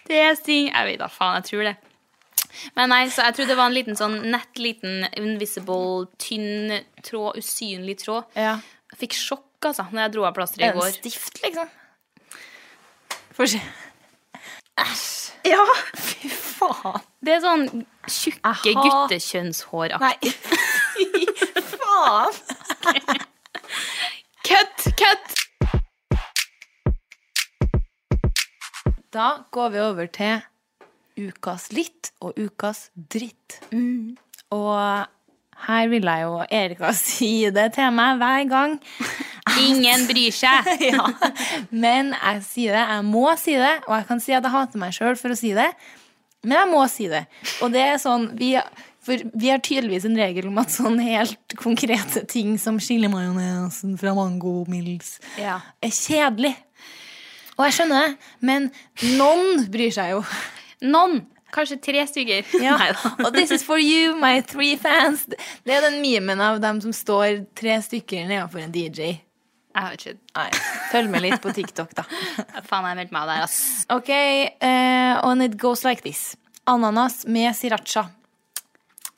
S1: Det er sting Jeg vet da faen, jeg tror det. Men nei, så jeg tror det var en liten sånn nett, liten invisible, tynn tråd, usynlig tråd.
S2: Ja.
S1: Jeg fikk sjokk, altså, når jeg dro av plasteret i
S2: Er det en
S1: går.
S2: stift, liksom? Få se. Æsj.
S1: Ja.
S2: Fy faen.
S1: Det er sånn tjukke
S2: Aha.
S1: guttekjønnshåraktig.
S2: Nei, fy faen.
S1: Kutt! Kutt!
S2: Da går vi over til ukas litt og ukas dritt. Og her vil jeg jo Erika si det til meg hver gang.
S1: Ingen bryr seg.
S2: Ja. Men jeg sier det, jeg må si det, og jeg kan si at jeg hater meg sjøl for å si det. Men jeg må si det. Og det er sånn vi, For vi har tydeligvis en regel om at sånn helt konkrete ting som chilimajonesen fra Mango Mills
S1: Ja.
S2: er kjedelig. Og jeg skjønner det, men noen bryr seg jo.
S1: Noen. Kanskje tre stykker.
S2: Ja.
S1: Neida.
S2: Og this is for you, my three fans. Det er den memen av dem som står tre stykker nedenfor en DJ.
S1: Jeg vet ikke.
S2: Nei, følg med litt på TikTok, da.
S1: Faen, jeg meldte meg der, ass.
S2: Ok, eh, and it goes like this. Ananas med sriracha.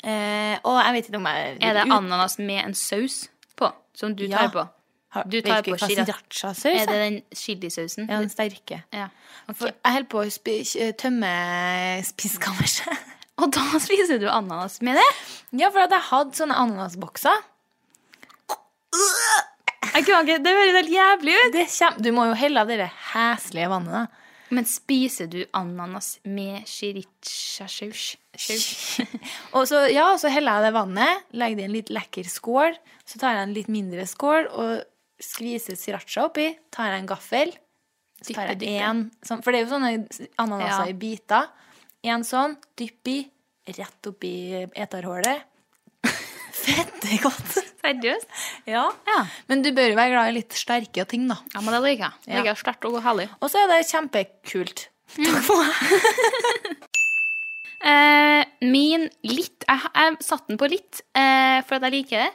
S2: Eh, og jeg vet ikke om jeg
S1: Er det ananas med en saus på? Som du
S2: Ja.
S1: tar på?
S2: Har-
S1: du tar
S2: vet ikke
S1: på
S2: hva
S1: sriracha.
S2: sriracha-saus
S1: Er
S2: er.
S1: det den chilisausen?
S2: Ja, den sterke.
S1: Ja.
S2: For jeg holder på å spi
S1: eh,
S2: tømme spiskammerset.
S1: Og da spiser du ananas med det?
S2: ja, for at jeg hadde sånne ananasbokser.
S1: Jeg kunne ikke, Det høres helt jævlig ut.
S2: Det kjem, du må jo helle av det heslige vannet, da.
S1: Men spiser du ananas med sriracha-saus? Saus?
S2: Og så, ja, og så heller jeg det vannet, legger det i en litt lekker skål, så tar jeg en litt mindre skål og skviser sriracha oppi, tar jeg en gaffel, så
S1: Dyppe,
S2: tar jeg
S1: dyppe.
S2: en sånn, for det er jo sånne
S1: Ja.
S2: ananaser i biter. En sånn, dypp i, rett oppi eterhålet. Fett, det er godt.
S1: Seriøst?
S2: Ja.
S1: Ja.
S2: Men du bør jo være glad i litt sterke ting, da.
S1: ja, men det liker jeg. Det liker jeg sterkt og herlig.
S2: Og så er det kjempekult. Takk for meg.
S1: Eh, min litt Jeg, jeg satte den på litt eh, for at jeg liker det.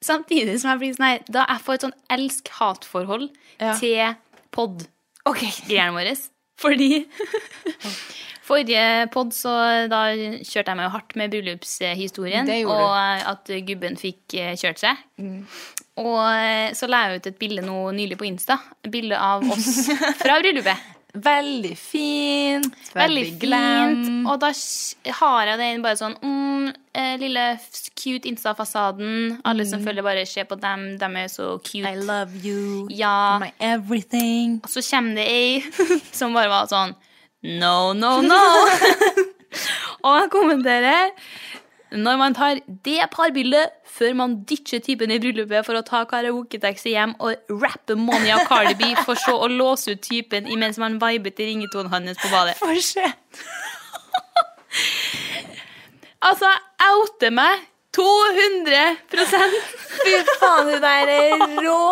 S1: Samtidig som jeg blir sånn her Da jeg får et sånn elsk-hat-forhold
S2: Ja.
S1: til pod. Greiene våre. Fordi Forrige pod så da kjørte jeg meg jo hardt med bryllupshistorien.
S2: Det gjorde
S1: Og eh, at gubben fikk eh, kjørt seg. Og eh, så la jeg ut et bilde nå nylig på Insta. Et bilde av oss fra bryllupet.
S2: Veldig fint.
S1: Veldig
S2: glam.
S1: fint.
S2: Mm.
S1: Og da s- har jeg det inn bare sånn mm, eh, Lille f- cute Insta-fasaden. Alle som følger, bare se på dem. De er så
S2: Mm. I
S1: cute.
S2: love you.
S1: Ja.
S2: My everything.
S1: Og så kommer det ei som bare var sånn No, no, no. og jeg kommenterer Når man tar det parbildet før man ditcher typen i bryllupet for å ta karaoketaxi hjem og rappe Monia Cardi B for så å låse ut typen imens man viber til ringetonen hans på badet.
S2: Får se.
S1: Altså, jeg outer meg 200 Så
S2: Fy faen, hun der er rå.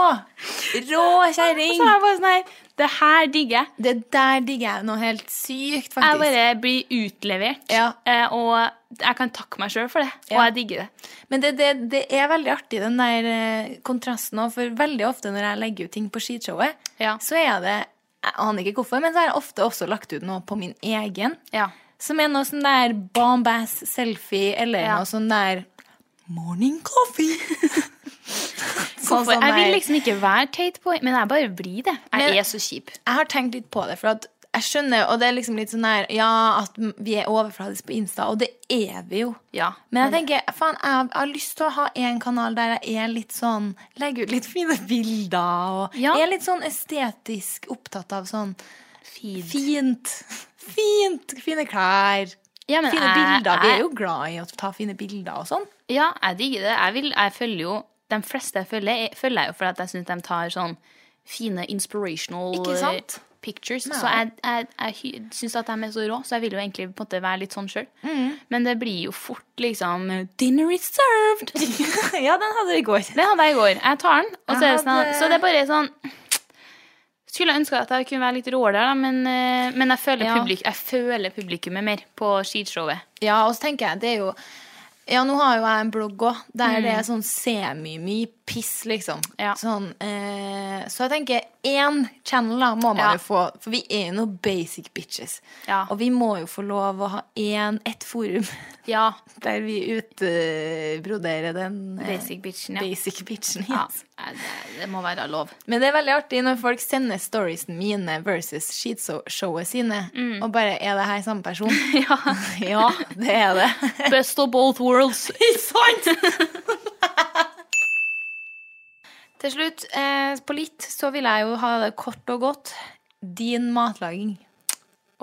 S2: Rå kjerring.
S1: jeg bare sånn her Det her digger jeg.
S2: Det der digger jeg noe helt sykt,
S1: Jeg
S2: faktisk.
S1: bare blir utlevert.
S2: Ja.
S1: eh, Og jeg kan takke meg sjøl for det. Og
S2: Ja.
S1: jeg digger det.
S2: Men det, det, det er veldig artig, den der eh, kontrasten òg, for veldig ofte når jeg legger ut ting på skishowet,
S1: Ja.
S2: så er det Jeg aner ikke hvorfor, men så har jeg ofte også lagt ut noe på min egen.
S1: Ja.
S2: Som er noe sånn der bombass selfie, eller
S1: Ja.
S2: noe sånn der morning coffee. sånn,
S1: For jeg vil
S2: der-
S1: liksom ikke være teit på men jeg bare blir det. Jeg
S2: Men-
S1: er så kjip.
S2: jeg har tenkt litt på det, for at jeg skjønner, og det er liksom litt sånn her, ja, at m- vi er overfladisk på Insta, og det er vi jo.
S1: Ja.
S2: Men jeg tenker, faen, jeg har, jeg har lyst til å ha en kanal der jeg er litt sånn, legger ut litt fine bilder, og
S1: Ja.
S2: er litt sånn estetisk opptatt av sånn,
S1: Fint.
S2: fint, fint, fine klær,
S1: Ja, men
S2: fine
S1: jeg-
S2: bilder. Vi
S1: jeg-
S2: er jo glad i å ta fine bilder og sånn.
S1: Ja, jeg digger det. Jeg, vil, jeg følger jo De fleste jeg følger, jeg følger jeg jo fordi at jeg syns de tar sånn fine inspirational
S2: Ikke sant?
S1: eh, pictures.
S2: Nei.
S1: Så jeg, jeg, jeg syns at de er så rå, så jeg vil jo egentlig på en måte være litt sånn sjøl.
S2: Mm.
S1: Men det blir jo fort liksom Dinner is served!
S2: ja, den hadde vi i går.
S1: Det hadde jeg i går. Jeg tar den. Og så, er det
S2: Jeg
S1: sånn,
S2: hadde-
S1: så det er bare sånn skulle jeg ønske at jeg kunne være litt råere, da, men, eh, men jeg, føler
S2: Ja.
S1: publik, jeg føler publikummet mer på skishowet.
S2: Ja, og så tenker jeg, det er jo Ja, nå har jo jeg en blogg òg, der det er sånn semi-mye piss, liksom.
S1: Mm. Ja.
S2: Sånn, eh, så jeg tenker, én channel da må man
S1: Ja.
S2: jo få, for vi er jo noen basic bitches.
S1: Ja.
S2: Og vi må jo få lov å ha én, ett forum
S1: Ja,
S2: der vi utbroderer den eh,
S1: basic bitchen, ja.
S2: basic bitchen.
S1: ja.
S2: yes.
S1: Det, det må være lov.
S2: Men det er veldig artig når folk sender storiesene mine versus sheetshowet sine,
S1: Mm.
S2: og bare Er det her samme person?
S1: Ja.
S2: ja, det er det.
S1: Best of both worlds.
S2: Til slutt, eh, på litt, så vil jeg jo ha det kort og godt. Din matlaging.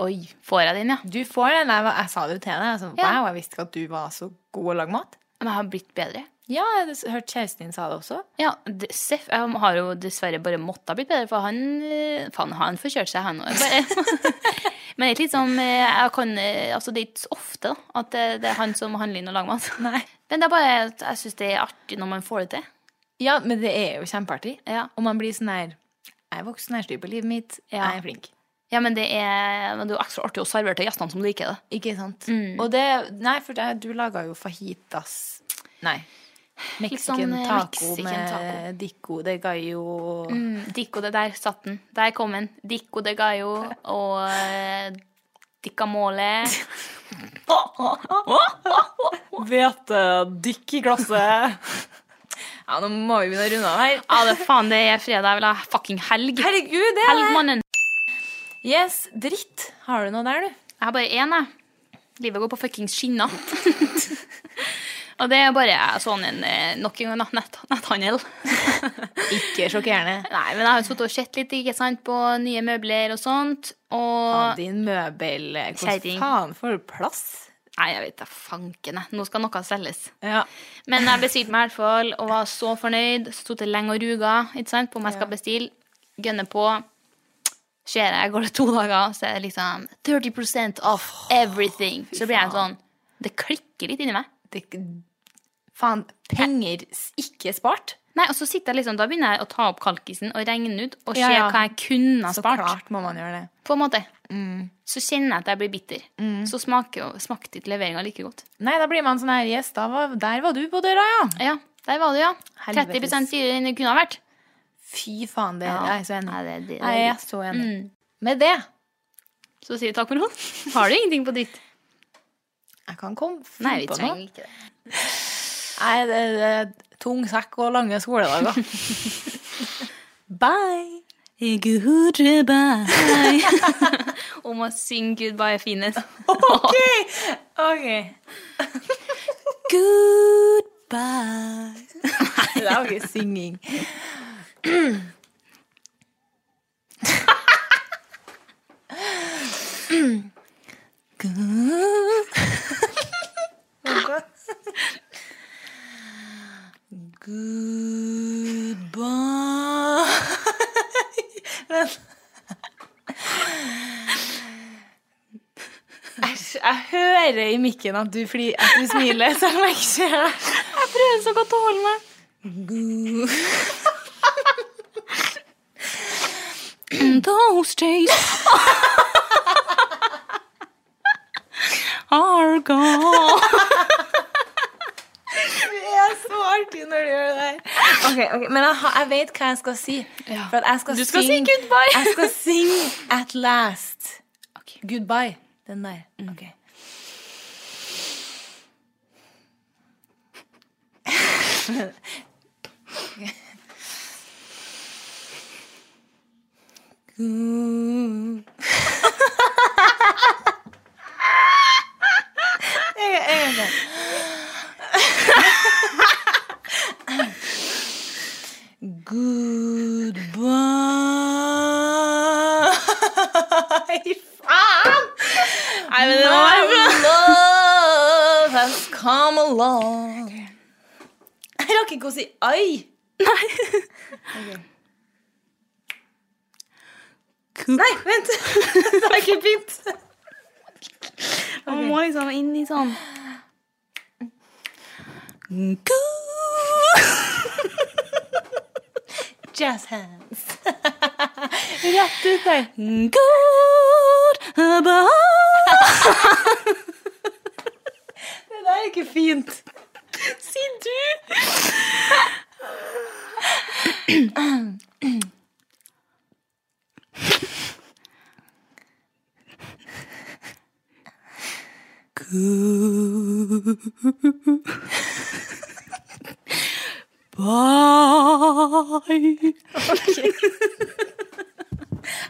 S1: Oi, får jeg den, ja?
S2: Du får den. Jeg, jeg sa det jo til deg. Jeg, sa,
S1: Ja.
S2: wow, jeg visste ikke at du var så god å lage mat.
S1: Men jeg har blitt bedre.
S2: Ja, jeg s- hørte kjæresten din sa det også.
S1: Ja, det- Seff jeg har jo dessverre bare måttet ha blitt bedre, for han eh, Faen, han forkjørte seg, han òg. Men det er litt sånn eh, jeg kan, eh, altså Det er ikke så ofte da, at eh, det, det er han som handler inn og lager mat.
S2: Nei.
S1: Men det er bare at jeg syns det er artig når man får det til.
S2: Ja, men det er jo kjempeartig.
S1: Ja,
S2: Og man blir sånn her Jeg er voksen, jeg styrer på livet mitt,
S1: Ja.
S2: jeg er flink.
S1: ja men det er, men det er jo ekstra artig å servere til gjestene som liker det.
S2: Ikke sant? Og det Nei, for det, du laga jo fajitas Nei. Mexican
S1: sånn, eh,
S2: taco
S1: Mexican
S2: med
S1: taco.
S2: dico de gallo
S1: Mm, Dico det der satt den. Der kom den. Dico de Gallo og eh, Dicamole.
S2: eh,
S3: Hvetedykk i glasset.
S2: Ja, nå må vi begynne å runde av her.
S1: Ja, det faen, det er fredag. Jeg vil ha fucking helg.
S2: Herregud, det er det!
S1: Helgmannen.
S2: Yes, dritt. Har du noe der, du?
S1: Jeg har bare én, jeg. Livet går på fuckings skinner. Og det er bare sånn en eh, nok en gang da, nett, netthandel.
S2: Ikke sjokkerende.
S1: Nei, men jeg har jo sittet og sett litt ikke sant, på nye møbler og sånt.
S2: Faen,
S1: Og
S2: Din møbel Hvordan
S1: Kjerring.
S2: faen får du plass?
S1: Nei, jeg vet da fanken. jeg. Nå skal noe selges.
S2: Ja.
S1: Men jeg bestilte meg i hvert fall og var så fornøyd. Så tok det lenge og ruga ikke sant, på om jeg skal bestille. Gønner på. Ser jeg går det to dager, så er det liksom 30 off everything. Så blir jeg sånn Det klikker litt inni meg.
S2: Det, Faen, penger s- ikke spart.
S1: Nei, og så sitter jeg liksom, Da begynner jeg å ta opp kalkisen og regne ut og se
S2: Ja, ja.
S1: hva jeg kunne ha
S2: Så
S1: spart.
S2: klart Mm. må man gjøre det.
S1: På en måte. Så kjenner jeg at jeg blir bitter.
S2: Mm.
S1: Så smaker, smakte ikke leveringa like godt.
S2: Nei, da blir man sånn her Yes, da var, der var du på døra, ja.
S1: Ja, der var det, ja.
S2: Helvetes.
S1: 30 dyrere enn det kunne ha vært.
S2: Fy faen, det jeg er så enig.
S1: Nei, det, det, det,
S2: Jeg er Mm. så enig. Med det
S1: Så sier jeg takk for nå. Har du ingenting på ditt?
S2: Jeg kan komme finne
S1: Nei, vi
S2: på noe.
S1: trenger ikke det.
S2: Nei, det, det er tung sekk og lange skoledager. Bye!
S1: Om å synge 'Goodbye, Finnes'.
S2: OK! ok. Goodbye. Det er jo ikke synging. Good. Goodbye. Æsj, jeg hører i mikken at du, fli, at du smiler, selv om jeg ikke ser det. Jeg prøver så godt å holde meg.
S3: Those days are gone.
S2: Det er så artig når du gjør det der. Ok, ok, Men jeg, har- jeg vet hva jeg skal si. For at jeg skal,
S1: Du skal si
S2: synge-
S1: goodbye.
S2: Jeg skal synge At Last. Goodbye. Den der. Ok. Good. En gang- en gang til. Goodbye. Faen! Nei, men det var bra. Love has come along. Jeg rakk ikke å si ai. Nei. Nei, vent. Det har ikke begynt.
S1: Man må liksom inn i sånn
S2: Jazz hands. Rett ut der. Det der er ikke fint. Si du.
S3: Bye.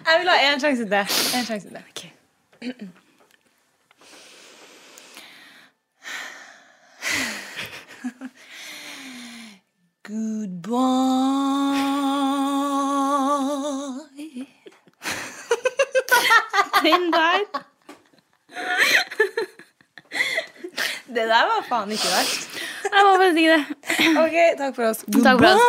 S2: Jeg vil ha én sjanse til. En sjanse til. Goodbye.
S1: Den der.
S2: Det der var faen ikke verst.
S1: Jeg var faktisk ikke det.
S2: Ok, takk for oss.
S1: Takk for oss.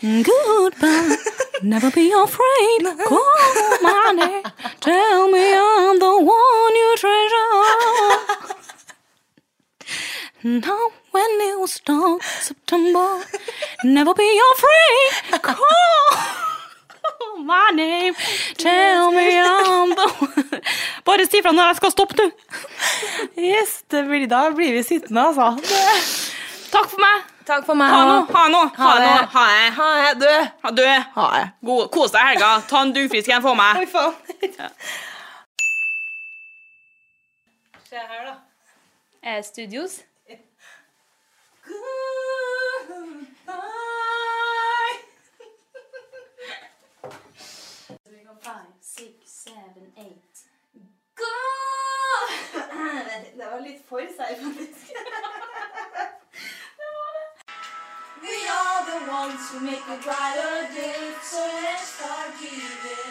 S2: Goodbye.
S3: Goodbye. Never be afraid. Call my name. Tell me I'm the one you treasure. Now when you start September, never be afraid. Call my name. Tell me I'm the one. Bare si fra når jeg skal stoppe, du.
S2: Yes, det blir, da blir vi sittende, altså.
S1: Takk for meg.
S2: Takk for meg.
S3: Ha nå, ha nå, ha
S2: det.
S3: nå, ha det.
S2: Ha det, du.
S3: Ha det.
S2: Ha det.
S3: God- Kos deg i helga. Ta en duggfrisk en for meg.
S2: Fy faen. Se her, da.
S1: Eh, studios.
S2: Det var litt for seig, faktisk. We are the ones who make a brighter day, so let's start giving.